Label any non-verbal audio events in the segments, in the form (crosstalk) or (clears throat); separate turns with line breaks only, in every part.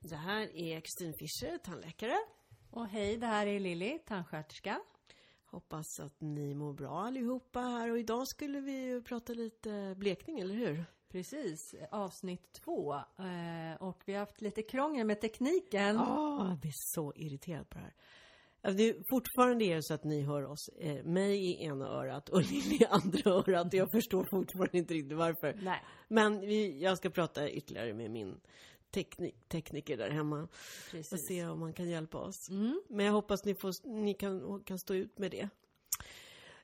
Det här är Kristin Fischer, tandläkare.
Och hej, det här är Lilly, tandsköterska.
Hoppas att ni mår bra allihopa här och idag skulle vi ju prata lite blekning, eller hur?
Precis, avsnitt två. Eh, och vi har haft lite krångel med tekniken.
Ja, jag blir så irriterad på det här. Alltså, det är fortfarande är det så att ni hör oss, eh, mig i ena örat och (laughs) Lilly i andra örat. Jag förstår fortfarande inte riktigt varför.
Nej.
Men vi, jag ska prata ytterligare med min teknik, tekniker där hemma och
Precis.
se om han kan hjälpa oss.
Mm.
Men jag hoppas ni, får, ni kan, kan stå ut med det.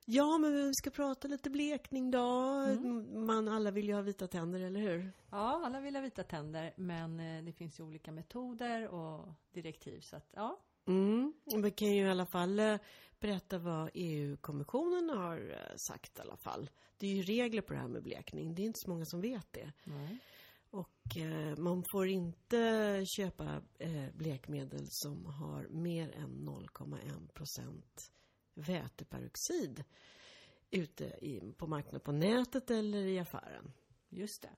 Ja, men vi ska prata lite blekning då.
Mm.
Man, alla vill ju ha vita tänder, eller hur?
Ja, alla vill ha vita tänder men eh, det finns ju olika metoder och direktiv så att ja.
Mm. Vi kan ju i alla fall eh, berätta vad EU-kommissionen har eh, sagt i alla fall. Det är ju regler på det här med blekning. Det är inte så många som vet det. Och eh, man får inte köpa eh, blekmedel som har mer än 0,1 procent väteperoxid ute i, på marknaden på nätet eller i affären.
Just det.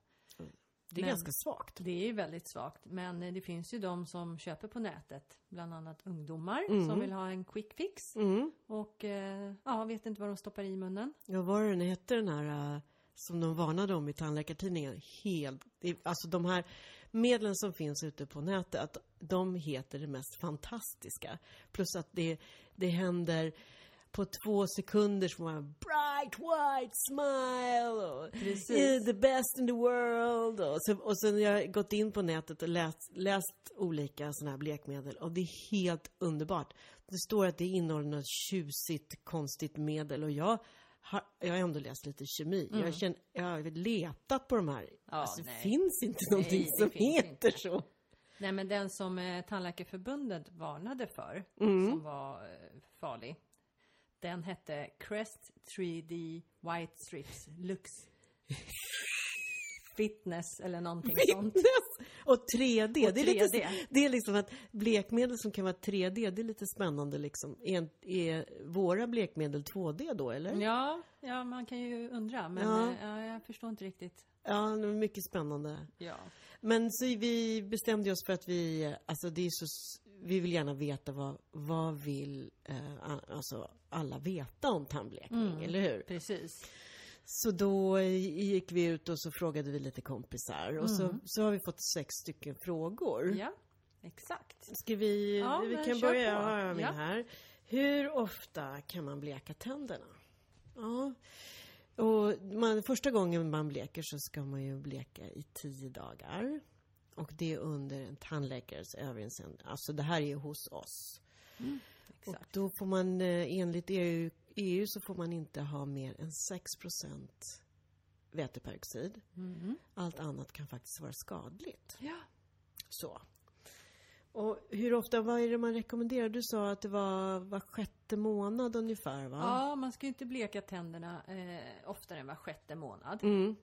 Det är
Men-
ganska svagt.
Det är ju väldigt svagt men eh, det finns ju de som köper på nätet. Bland annat ungdomar som vill ha en quick fix
Mm.
och eh, ja, vet inte vad de stoppar i munnen.
Ja, vad var den hette den här eh, som de varnade om i tandläkartidningen? Helt, det- alltså de här medlen som finns ute på nätet, de heter det mest fantastiska. Plus att det, det händer på två sekunder så får man bright white smile och
Precis.
"Eh, the best in the world. Och, så, och sen har jag gått in på nätet och läst, läst olika sådana här blekmedel och det är helt underbart. Det står att det innehåller något tjusigt, konstigt medel och jag har, jag har ändå läst lite kemi. Jag, känner, jag har letat på de här.
Mm. Ja,
alltså, det
nej.
finns inte någonting
Nej, det
som
finns
heter
inte.
så. (laughs)
Nej men den som eh, Tandläkarförbundet varnade för, som var eh, farlig. Den hette Crest 3D White Strips Lux Fitness eller någonting sånt.
Yes. Och 3D, det, är lite,
3D.
så- det är liksom att blekmedel som kan vara 3D, det är lite spännande liksom. Är, är våra blekmedel 2D då eller?
Ja, ja, man kan ju undra men
Ja.
eh, ja. jag förstår inte riktigt.
Ja, det är mycket spännande.
Ja.
Men så vi bestämde oss för att vi, alltså det är så, s- vi vill gärna veta vad, vad vill eh, a- alltså alla veta om tandblekning, eller hur?
Precis.
Så då gick vi ut och så frågade vi lite kompisar och så, så har vi fått sex stycken frågor.
Ja, exakt.
Ska vi,
Ja,
vi
men
kan
kör
börja
på.
Jag har min
Ja.
här. Hur ofta kan man bleka tänderna? Ja. Och man, första gången man bleker så ska man ju bleka i tio dagar. Och det är under en tandläkares överinseende. Alltså det här är hos oss. Och
Exakt.
då får man eh, enligt EU, EU så får man inte ha mer än 6 procent väteperoxid.
Mm.
Allt annat kan faktiskt vara skadligt.
Ja.
Så. Och hur ofta, vad är det man rekommenderar? Du sa att det var var sjätte månad ungefär va?
Ja, man ska ju inte bleka tänderna eh, oftare än var sjätte månad.
Mm.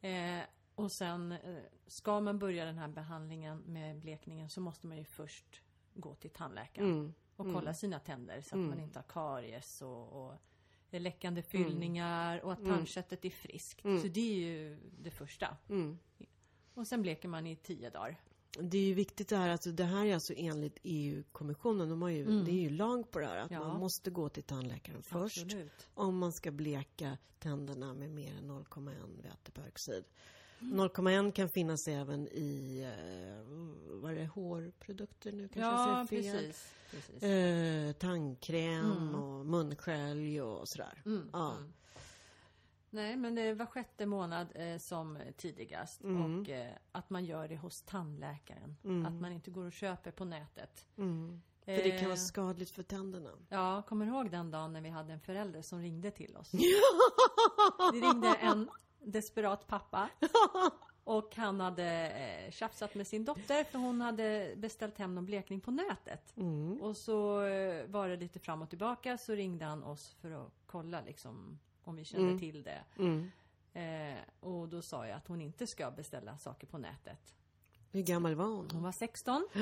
Eh, och sen eh, ska man börja den här behandlingen med blekningen så måste man ju först gå till tandläkaren
Mm.
och kolla sina tänder så att man inte har karies och, och eh, läckande
Mm.
fyllningar och att tandköttet är friskt. Så det är ju det första.
Mm.
Och sen bleker man i tio dagar.
Det är ju viktigt det här, alltså, det här är alltså enligt EU-kommissionen, de har ju, det är ju lag på det här att
Mm. Ja.
man måste gå till tandläkaren först.
Absolut.
Om man ska bleka tänderna med mer än 0,1 väteperoxid.
Mm.
0,1 kan finnas även i, eh, vad är det, hårprodukter nu kanske
Ja,
jag säger fel.
precis. Mm. precis.
Eh, tandkräm och munskölj och sådär. ja.
Mm, Nej, men det var sjätte månad eh, som tidigast.
Mm.
Och eh, att man gör det hos tandläkaren. Att man inte går och köper på nätet.
För det kan vara
Eh,
skadligt för tänderna.
Ja, kommer du ihåg den dagen när vi hade en förälder som ringde till oss? Det ringde en desperat pappa. Och han hade eh, tjafsat med sin dotter för hon hade beställt hem någon blekning på nätet. Och så eh, var det lite fram och tillbaka så ringde han oss för att kolla liksom om vi kände
Mm.
till det. Eh, och då sa jag att hon inte ska beställa saker på nätet.
Hur gammal var hon?
Hon var 16.
(gasps)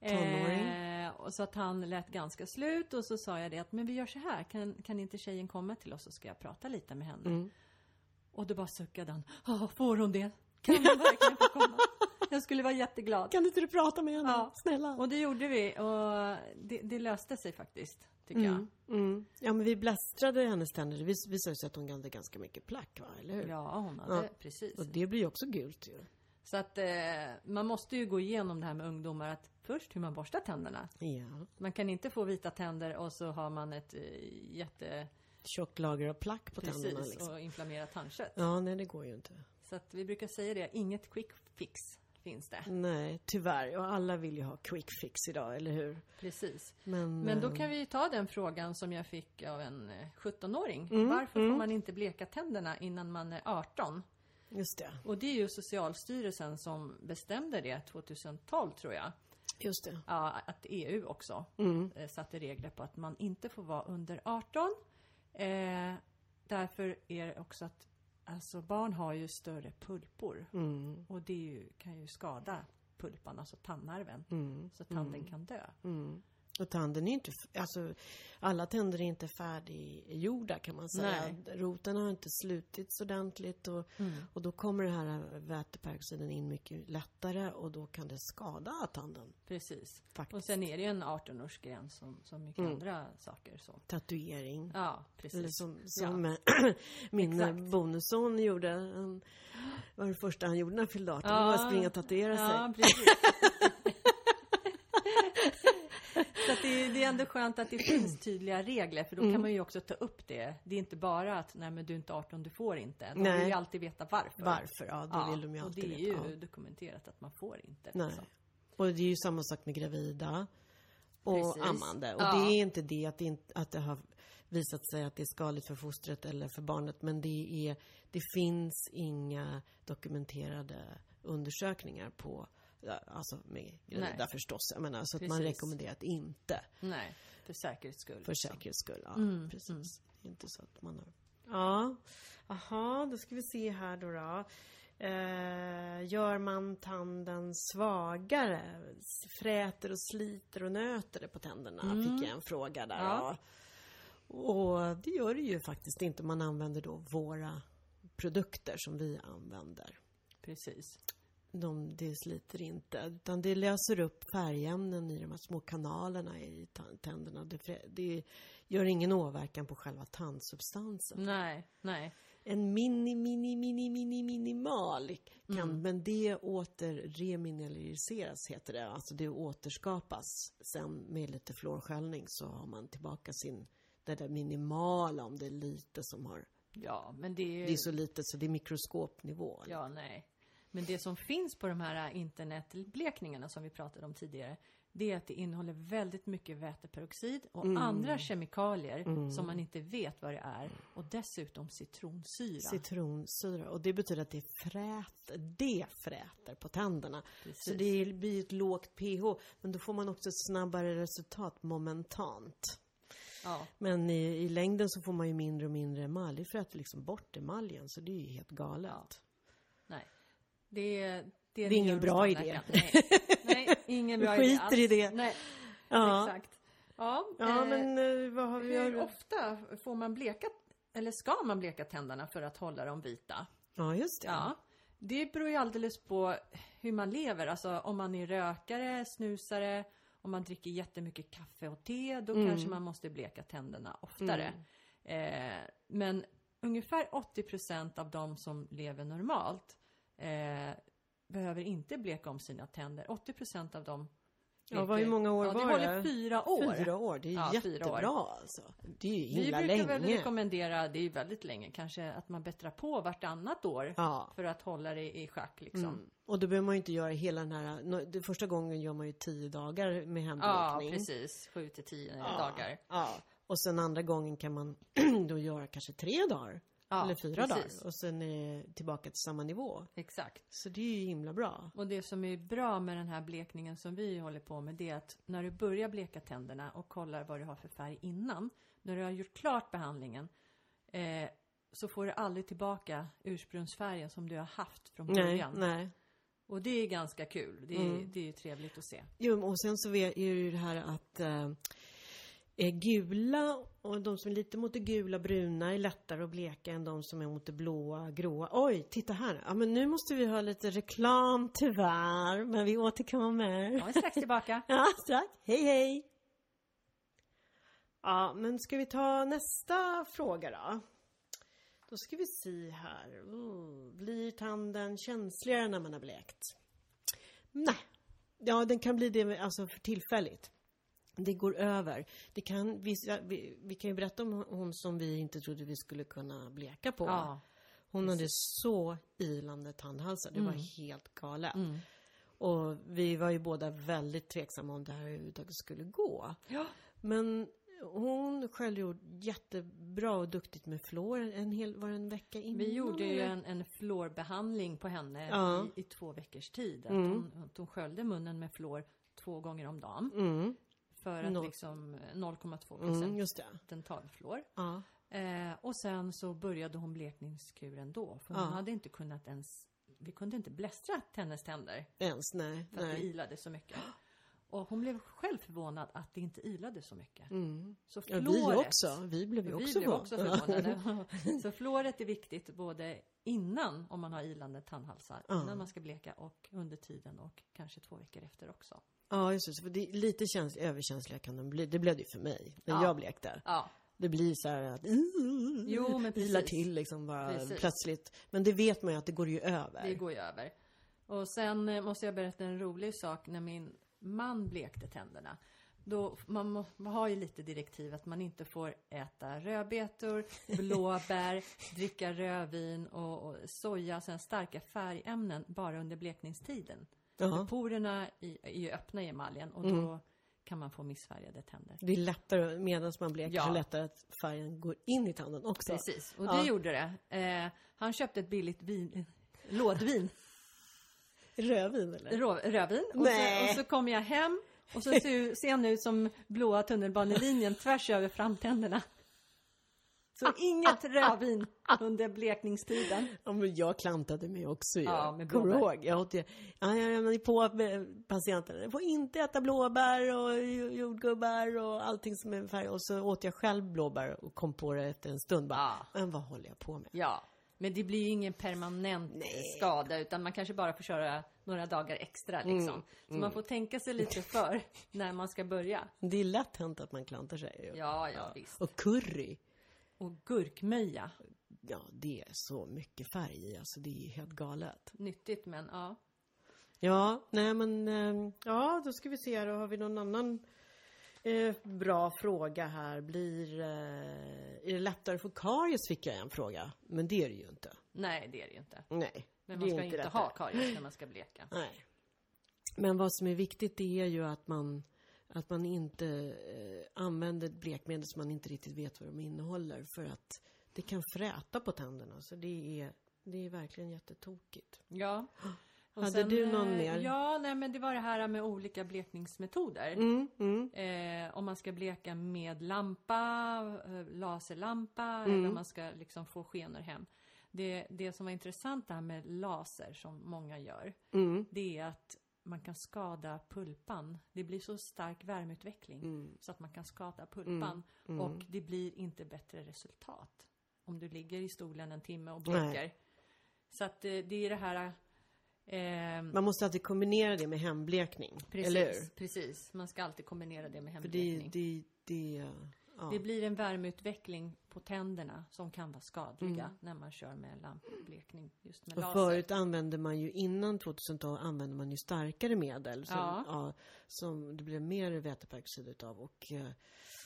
Tonåring.
Eh, och så att han lät ganska slut och så sa jag det att men vi gör så här, kan, kan inte tjejen komma till oss så ska jag prata lite med
Mm. (laughs)
henne. Och då bara suckade han, "Ja, får hon det? Kan hon verkligen få komma? Jag skulle vara jätteglad.
Kan inte du prata med henne?
Ja.
Snälla.
Och det gjorde vi och det, det löste sig faktiskt, tycker jag.
Mm, mm. Ja, men vi blästrade hennes tänder. Det vis- visade sig att hon hade ganska mycket plack, va? Eller hur?
Ja, hon hade
Ja.
precis.
Och det blir ju också gult ju.
Så att eh, man måste ju gå igenom det här med ungdomar att först hur man borstar tänderna.
Ja.
Man kan inte få vita tänder och så har man ett eh, jätte...
Tjockt lager av plack på tänderna
Precis,
liksom.
och inflammerat tandkött.
Ja, nej det går ju inte.
Så att vi brukar säga det, inget quick fix finns
Mm.
det.
Nej, tyvärr. Och alla vill ju ha quick fix idag, eller hur?
Precis.
Men,
Men då
eh,
kan vi ju ta den frågan som jag fick av en eh, 17-åring.
Mm,
Varför får man inte bleka tänderna innan man är 18?
Just det.
Och det är ju Socialstyrelsen som bestämde det 2012 tror jag.
Just det.
Ja, att EU också eh, satte regler på att man inte får vara under 18. Eh, därför är det också att alltså barn har ju större pulpor. Och det är ju, kan ju skada pulpan, alltså tandnerven. Så tanden kan dö.
Och tanden är inte, f- alltså alla tänder är inte färdiggjorda kan man säga. Roten har inte slutits ordentligt och,
Mm.
och då kommer det här väteperoxiden in mycket lättare och då kan det skada tanden.
Precis.
Faktiskt.
Och sen är det ju en 18-årsgräns som, som mycket andra saker. Så.
Tatuering.
Ja, precis.
Eller som, som (clears throat) min
Exakt.
bonusson gjorde. Han, var det första han gjorde när han fyllde 18.
Ja.
Det var att springa och tatuera sig.
Ja, precis. Så att det, är- det är ändå skönt att det finns tydliga regler för då
Mm.
kan man ju också ta upp det. Det är inte bara att nej men du är inte 18, du får inte. De
Nej.
vill ju alltid veta varför.
Varför? Ja, det
Ja,
vill de ju
och
alltid
det är
veta.
ju
Ja.
dokumenterat att man får inte.
Nej.
liksom.
Och det är ju samma sak med gravida och
Precis.
ammande. Och
Ja.
det är inte det att det, inte, att det har visat sig att det är skadligt för fostret eller för barnet. Men det, är, det finns inga dokumenterade undersökningar på ja, Alltså med gravida
Nej.
förstås. Jag menar, så att man
Precis.
rekommenderar att inte
Nej, för säkerhets skull.
för säkerhets skull. liksom. Ja, precis. Inte så att man har... Ja. Aha, då ska vi se här då. då. Eh, gör man tanden svagare? S- Fräter och sliter och nöter det på tänderna? Fick jag en fråga där. Mm. Ja.
Ja.
Och det gör det ju faktiskt inte. Man använder då våra produkter som vi använder.
Precis.
De, det sliter inte, utan det löser upp färgämnen i de här små kanalerna i ta- tänderna. Det, frä- det gör ingen åverkan på själva tandsubstansen.
Nej, nej.
En mini, mini, mini, mini, minimal kan,
Mm.
men det återremineraliseras heter det. Alltså det återskapas. Sen med lite fluorsköljning så har man tillbaka sin, det där minimala om det är lite som har,
Ja, men det är ju...
det är så lite så det är mikroskopnivå.
Ja, nej. Men det som finns på de här internetblekningarna som vi pratade om tidigare, det är att det innehåller väldigt mycket väteperoxid och
Mm.
andra kemikalier som man inte vet vad det är. Och dessutom citronsyra.
Citronsyra. Och det betyder att det fräter, det fräter på tänderna. Så
Precis.
det blir ett lågt pH. Men då får man också ett snabbare resultat momentant.
ja,
Men i, i längden så får man ju mindre och mindre emalj. För att liksom bort emaljen. Så det är ju helt galet.
nej. Det, är- det
Det är ingen
gör hos
bra
tandläkaren.
idé.
Nej, nej ingen
Vi
bra idé
skiter
alls.
i det.
Nej,
Ja.
exakt. Ja,
Ja,
eh,
men eh, vad har vi
hur
gjort?
ofta får man bleka, eller ska man bleka tänderna för att hålla dem vita?
Ja, just det.
Ja, det beror ju alldeles på hur man lever. Alltså om man är rökare, snusare, om man dricker jättemycket kaffe och te, då
Mm.
kanske man måste bleka tänderna oftare. Eh, men ungefär 80% av de som lever normalt eh, behöver inte bleka om sina tänder. 80% av dem
Ja,
bleker-
vad- hur många år
ja, det?
var
håller
det?
fyra år.
Mm. Fyra år. Det är ju
Ja, fyra år.
jättebra alltså. Det är ju
Vi
himla
brukar väl
länge.
rekommendera, det är ju väldigt länge kanske, att man bättrar på vartannat år
Ja.
för att hålla det i schack liksom.
Mm. Och då behöver man ju inte göra hela den här... nå- det Första gången gör man ju tio dagar med
Ja,
hemblekning.
precis. Sju till tio dagar.
Ja. Och sen andra gången kan man (clears throat) då göra kanske tre dagar.
Ja,
eller fyra
precis.
dagar. Och sen är det tillbaka till samma nivå.
Exakt.
Så det är ju himla bra.
Och det som är bra med den här blekningen som vi håller på med det är att när du börjar bleka tänderna och kollar vad du har för färg innan, när du har gjort klart behandlingen, eh, så får du aldrig tillbaka ursprungsfärgen som du har haft från
Nej,
början.
nej.
Och det är ganska Mm. kul. Det är, det är ju trevligt att se.
Jo, och sen så är är det ju det här att eh, är gula och de som är lite mot det gula bruna är lättare att bleka än de som är mot det blåa gråa. Oj, titta här! Ja, men nu måste vi ha lite reklam tyvärr, men vi återkommer.
Jag är strax tillbaka.
Ja, strax. Hej, hej! Ja, men ska vi ta nästa fråga då? Då ska vi se här. Mm, Blir tanden känsligare när man har blekt? Nej. Ja, den kan bli det alltså för tillfälligt. Det går över. Det kan, vi, vi, vi kan ju berätta om hon som vi inte trodde vi skulle kunna bleka på.
(laughs) Ja.
Hon hade så ilande tandhalsar. Det
Mm.
var helt galet. Och vi var ju båda väldigt tveksamma om det här överhuvudtaget skulle gå.
Ja.
Men hon självgjorde jättebra och duktigt med fluor. En hel, var det en vecka innan?
Vi gjorde ju
eller?
en, en fluorbehandling på henne
Ja. Mm.
i, i två veckors tid. Att hon, att hon sköljde munnen med fluor två gånger om dagen.
Mm,
För att
Noll.
liksom eh, 0,2
mm,
procent
just det.
dentalfluor.
Ja.
Eh, och sen så började hon blekningskuren då. För hon
Ja.
hade inte kunnat ens, vi kunde inte blästra hennes tänder.
Ens, nej.
För att det
nej.
ilade så mycket. Och hon blev själv förvånad att det inte ilade så mycket.
Mm.
Så
Ja, vi
fluoret-
också. Vi blev ju
Vi
också
blev
van. (laughs)
också förvånade. så fluoret är viktigt både innan om man har ilande tandhalsar,
Ja.
innan man ska bleka och under tiden och kanske två veckor efter också.
Ja, just det. Så För det är lite käns- överkänsliga kan de bli. Det blev det ju för mig när
Ja.
jag blekte.
Ja,
Det blir så här att
Jo, men
ilar
precis.
till liksom bara
Precis.
plötsligt. Men det vet man ju att det går ju över.
det går ju över. Och sen eh, måste jag berätta en rolig sak när min man blekte tänderna. Då, man må- man har ju lite direktiv att man inte får
(laughs)
äta rödbetor, blåbär, dricka rödvin och, och soja, sen starka färgämnen bara under blekningstiden.
Ja.
Porerna i- är ju öppna i emaljen och då kan man få missfärgade tänder.
Det är lättare, medan man bleker,
Ja.
så är det lättare att färgen går in i tanden också.
Precis, och det
Ja.
gjorde det. Eh, han köpte ett billigt vin, lådvin,
Rödvin eller?
rå- rödvin. Och så,
Nej.
och så kom jag hem och så ser, ser han ut som blåa tunnelbanelinjen tvärs över framtänderna. Så inget rödvin under blekningstiden.
Ja, men jag klantade mig också ju.
Ja, med
Kommer du
blåbär.
ihåg? Jag åt ju, ja, jag lämnade på med patienterna. Ni får inte äta blåbär och ju- jordgubbar och allting som är färg. Och så åt jag själv blåbär och kom på det efter en stund. Bara,
Ja.
Men vad håller jag på med?
Ja, men det blir ju ingen permanent skada utan man kanske bara får köra några dagar extra liksom. Så man får tänka sig lite för när man ska börja.
Det är lätt hänt att man klantar sig ju.
Ja, ja, visst.
Och curry.
Och gurkmeja.
Ja, det är så mycket färg i. Alltså det är ju helt galet.
Nyttigt men ja.
Ja, nej men... ehm, Ja, då ska vi se här. Då har vi någon annan eh, bra fråga här. Blir... Eh, är det lättare att få karies? Fick jag en fråga. Men det är det ju inte.
Nej, det är det ju inte.
Nej. det
Men man
är
ska inte,
lättare.
ha karies när man ska bleka.
Nej. Men vad som är viktigt det är ju att man... Att man inte eh, använder blekmedel som man inte riktigt vet vad de innehåller. För att det kan fräta på tänderna. Så det är, det är verkligen jättetokigt.
Ja. Och
Hade du någon
eh,
mer?
Ja, nej men det var det här med olika blekningsmetoder.
Mm, mm.
Eh, om man ska bleka med lampa, eh, laserlampa
Mm.
eller om man ska liksom få skenor hem. Det, det som var intressant det här med laser som många gör, det är att man kan skada pulpan. Det blir så stark värmeutveckling så att man kan skada
Mm,
pulpan och det blir inte bättre resultat. Om du ligger i stolen en timme och
Nej.
blekar. Så att eh, det är det här eh,
Man måste alltid kombinera det med hemblekning. Eller hur?
Precis, precis. Man ska alltid kombinera det med
För det,
hemblekning.
det, det, ja.
Det blir en värmeutveckling på tänderna som kan vara skadliga när man kör med lampblekning just med
Mm. och
laser.
förut använde man ju, innan 2012 använde man ju starkare medel som,
Ja.
ja. som det blev mer väteperoxid utav och eh,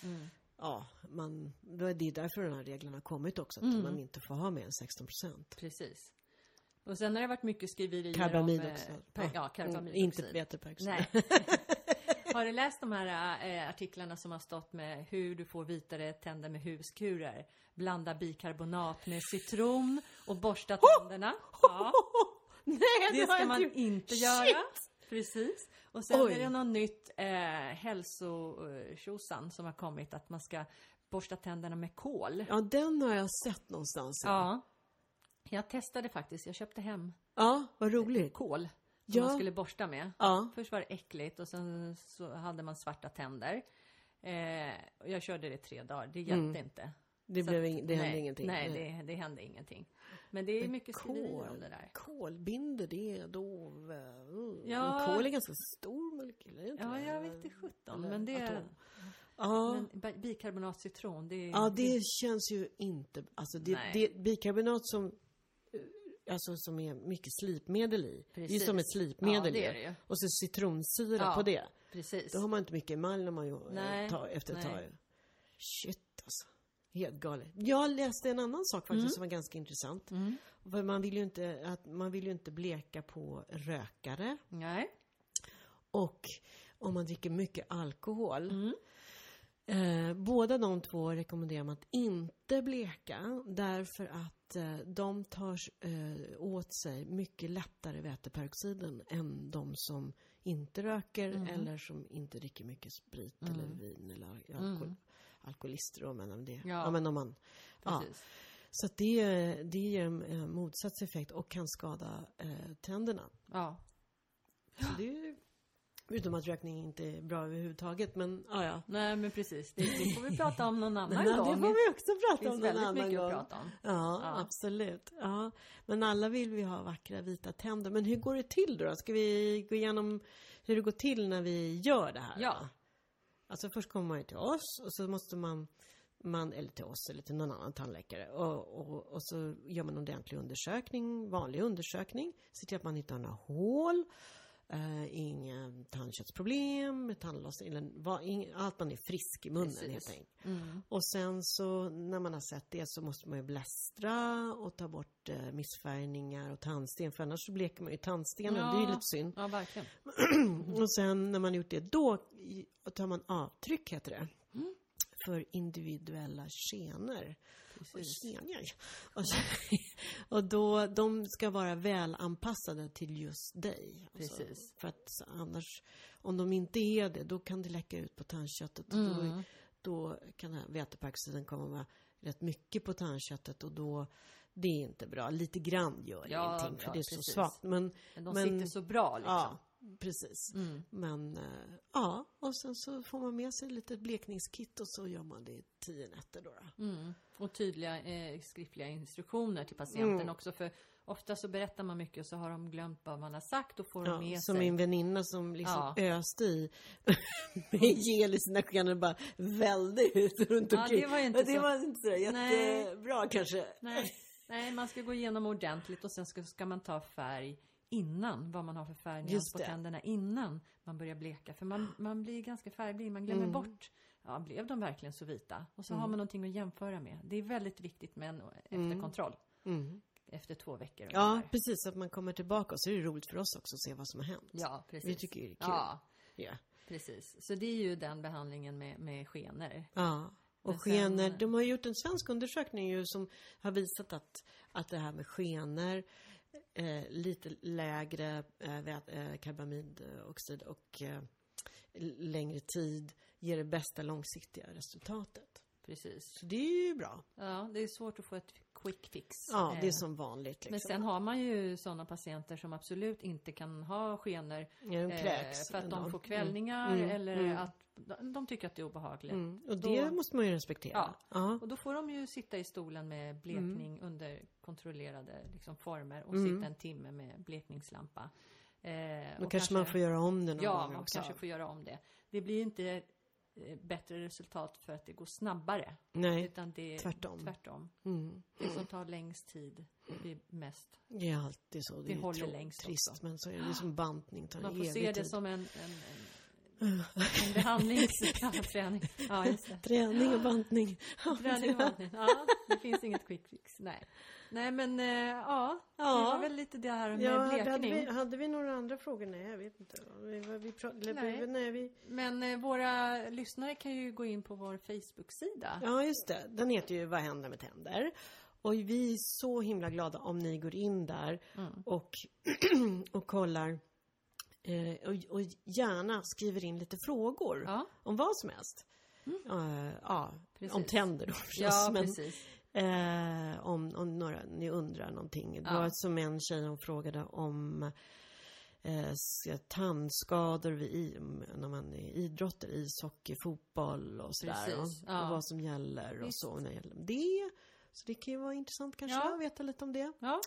Mm.
ja, man, det är därför de här reglerna har kommit också, att
Mm.
man inte får ha mer än 16 procent.
Precis. Och sen har det varit mycket skriverier
Karbamid
om... eh,
också.
Per, ja,
Mm,
karbamid
Inte väteperoxid.
Nej. har du läst de här eh, artiklarna som har stått med hur du får vitare tänder med huskurer? Blanda bikarbonat med citron och borsta tänderna. Ja.
(laughs) Nej,
Det
har
ska
jag
man
gjort.
inte
typ Shit!
göra. Precis. Och sen
Oj.
är det något nytt eh, hälsotjosan som har kommit att man ska borsta tänderna med kol.
Ja, den har jag sett någonstans. Ja,
Ja. Jag testade faktiskt, jag köpte hem
ja vad roligt.
kol som
Ja.
man skulle borsta med.
Ja.
Först var det äckligt och sen så hade man svarta tänder. Eh, och jag körde det tre dagar, det hjälpte
Mm.
inte.
Det,
Så
blev
att-
ing- det hände
nej,
ingenting.
Nej, det, det hände ingenting. Men det är
Men
mycket skriverier
kol.
om det där.
Kolbinder, det är dov. Mm.
Ja.
Kol är ganska stor molekyl, är det inte
Ja,
det?
jag vet inte sjutton.
Eller
Men det...
atom. Ja.
Men bi- bikarbonat citron, det är...
ja, det känns ju inte... Alltså det,
Nej.
det bikarbonat som... eh, Alltså som är mycket slipmedel i. Det är ju som ett
Precis.
slipmedel
Ja, det
ju.
är det ju.
Och så citronsyra
Ja.
på det.
Precis.
Då har man inte mycket emalj när man gör,
Nej,
tar, efter ett
nej.
tag. Shit alltså. Helt galet. Jag läste en annan sak
Mm.
faktiskt som var ganska intressant. För man vill ju inte, att, man vill ju inte bleka på rökare.
Nej.
Och om man dricker mycket alkohol.
Mm.
Eh, båda de två rekommenderar man att inte bleka därför att eh, de tar eh, åt sig mycket lättare väteperoxiden än de som inte röker
Mm.
eller som inte dricker mycket sprit eller vin eller alkohol. Alkoholister då, men om det. Ja.
Mm. Ja.
men om man. Ja.
Precis.
Så att det, det ger en eh, motsatt effekt och kan skada eh, tänderna.
Ja.
Så det är ju, utom att rökning inte är bra överhuvudtaget, men ah, ja.
Nej, men precis. Det, det får vi prata
(laughs)
om någon annan
Men det
gång.
får vi också
det
prata om
finns
någon
väldigt
annan
mycket
gång.
att prata om.
Ja,
Ja.
absolut. Ja. Men alla vill vi ha vackra vita tänder. Men hur går det till då? Ska vi gå igenom hur det går till när vi gör det här?
Ja.
då? Alltså först kommer man ju till oss och så måste man, man eller till oss eller till någon annan tandläkare. Och, och, och så gör man en ordentlig undersökning, vanlig undersökning. Ser till att man inte har några hål. Uh, inga tandköttsproblem, tandlossning, eller vad- ing- allt man är frisk i munnen
Precis.
helt enkelt.
Mm.
Och sen så när man har sett det så måste man ju blästra och ta bort eh, missfärgningar och tandsten för annars så bleker man ju tandstenen, det är ju
Ja.
lite synd.
Ja, verkligen. Mm.
Och sen när man gjort det då i- tar man avtryck heter det.
Mm.
För individuella skenor. Och,
Precis.
skenor. Och, så- (laughs) och då, de ska vara välanpassade till just dig. Alltså,
Precis.
för att så annars, om de inte är det, då kan det läcka ut på tandköttet. Och då,
Mm.
då kan den här väteperoxiden komma med rätt mycket på tandköttet och då, det är inte bra. Lite grann gör
Ja,
ingenting för
ja,
det är så
precis.
svagt. Men,
Men de
men-
sitter så bra liksom. Mm.
ja, precis. Men, eh, ja, och sen så får man med sig lite blekningskit och så gör man det i tio nätter då. då.
Mm. Och tydliga eh, skriftliga instruktioner till patienten
Mm.
också. För ofta så berättar man mycket och så har de glömt vad man har sagt och får de
Ja,
med
som
sig.
min väninna som liksom
Ja.
öste i (laughs) med gel i sina skenor och bara välde ut runt
Ja,
omkring.
det var inte
Men det
så-
var inte så jättebra kanske.
Nej. Nej, man ska gå igenom ordentligt och sen ska, ska man ta färg innan. Vad man har för färgnyans
Just
på
det.
tänderna innan man börjar bleka. För man, man blir ganska färgblind, man glömmer
Mm.
bort. Ja, blev de verkligen så vita? Och så har man någonting att jämföra med. Det är väldigt viktigt med en efterkontroll. Efter två veckor.
Mm. Ja,
ungefär.
precis. Att man kommer tillbaka och så är det roligt för oss också att se vad som har hänt.
ja precis.
Vi tycker ju det är kul.
Ja,
Ja.
precis. Så det är ju den behandlingen med, med skenor.
Ja. Och
Men sen-
skenor, de har gjort en svensk undersökning ju som har visat att, att det här med skenor, eh, lite lägre eh, vä- eh, karbamidoxid och eh, l- längre tid ger det bästa långsiktiga resultatet.
Precis.
Så det är ju bra.
Ja, det är svårt att få ett quick fix.
Ja, det är
Eh,
som vanligt
Men
liksom.
sen har man ju sådana patienter som absolut inte kan ha skenor
Ja, de kräks
eh, för att
ändå. Mm.
de får kvällningar eller att de, de tycker att det är obehagligt.
Mm. Och det
då-
måste man ju respektera.
Ja.
ja.
Och då får de ju sitta i stolen med
Mm.
blekning under kontrollerade liksom, former och sitta en timme med blekningslampa. Eh,
Mm. Då kanske man får göra om det någon
Ja,
gång
man
också.
kanske får göra om det. Det blir ju inte eh, bättre resultat för att det går snabbare.
Nej,
Utan det är
tvärtom.
tvärtom.
Mm.
Det som tar längst tid blir mest
Det är alltid så. Det,
Det
är
håller
håller
längst
trist,
också.
men så är det ju som bantning. Tar
Man får
evig
se det
tid.
som en, en, en, en
(laughs)
behandlingsträning. Ja, just det.
(laughs) Träning och bantning.
(laughs) Träning och behandling. Ja, det finns inget quick fix. Nej, Nej men eh, ja,
Ja.
det var väl lite det här
(laughs)
med
Ja, hade, hade,
blekning.
vi, hade vi några andra frågor? Nej, jag vet inte. Vi, vi, vi, pra- eller,
Nej.
nej, vi,
Men eh, våra lyssnare kan ju gå in på vår Facebook-sida.
ja, just det. Den heter ju Vad händer med tänder? Och vi är så himla glada om ni går in där
Mm.
och, (clears throat) och kollar eh, och, och gärna skriver in lite frågor
Ja. Mm.
om vad som helst. Eh, ja, om
Precis.
tänder då förstås.
Ja,
men-
precis.
Eh, om, om några, ni undrar någonting. Det
Ja.
var som en tjej hon frågade om eh, se tandskador vid, i- m- när man är idrotter, ishockey, fotboll och sådär. Och,
Precis, ja.
och vad som gäller och
Visst.
så när det gäller det. Så det kan ju vara intressant kanske
Ja.
att veta lite om det.
Ja,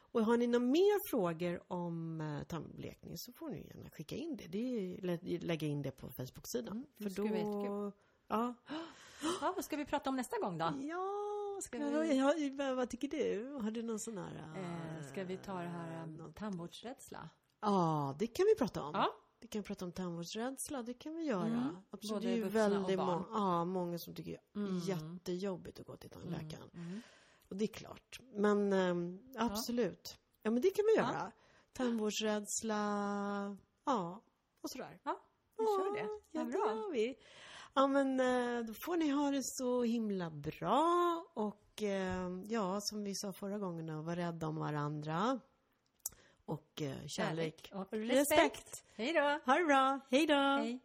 Och har ni några mer frågor om eh, tandblekning så får ni gärna skicka in det. det är, lä- lägga in det på Facebook-sidan.
Mm, det
För
skulle vara
då...
jättekul.
Ja.
ja vad ska vi prata om nästa gång då?
ja, ska
Ska
vi...
vi-
ja, men vad tycker du? Har du någon sån här... eh,
Eh, ska vi ta det här eh, tandvårdsrädsla?
Ja, det kan vi prata om.
Ja.
Vi kan prata om tandvårdsrädsla, det kan vi göra.
Mm.
Absolut,
Både
det är ju
vuxna och
väldigt
barn.
många, ja, många som tycker det är
Mm.
jättejobbigt att gå till tandläkaren.
Mm.
Och det är klart. Men ehm, absolut. Ja. men det kan vi
Ja.
göra. Tandvårdsrädsla, ja, och sådär.
Ja, vi kör det.
Ja,
Vad
det
bra.
gör vi. Ja, men eh, då får ni ha det så himla bra. Och ehm, ja, som vi sa förra gången, då, var rädda om varandra. Och eh, kärlek,
Kärlek och
och respekt.
respekt. Hej då!
Ha det bra. Hej då.
Hej.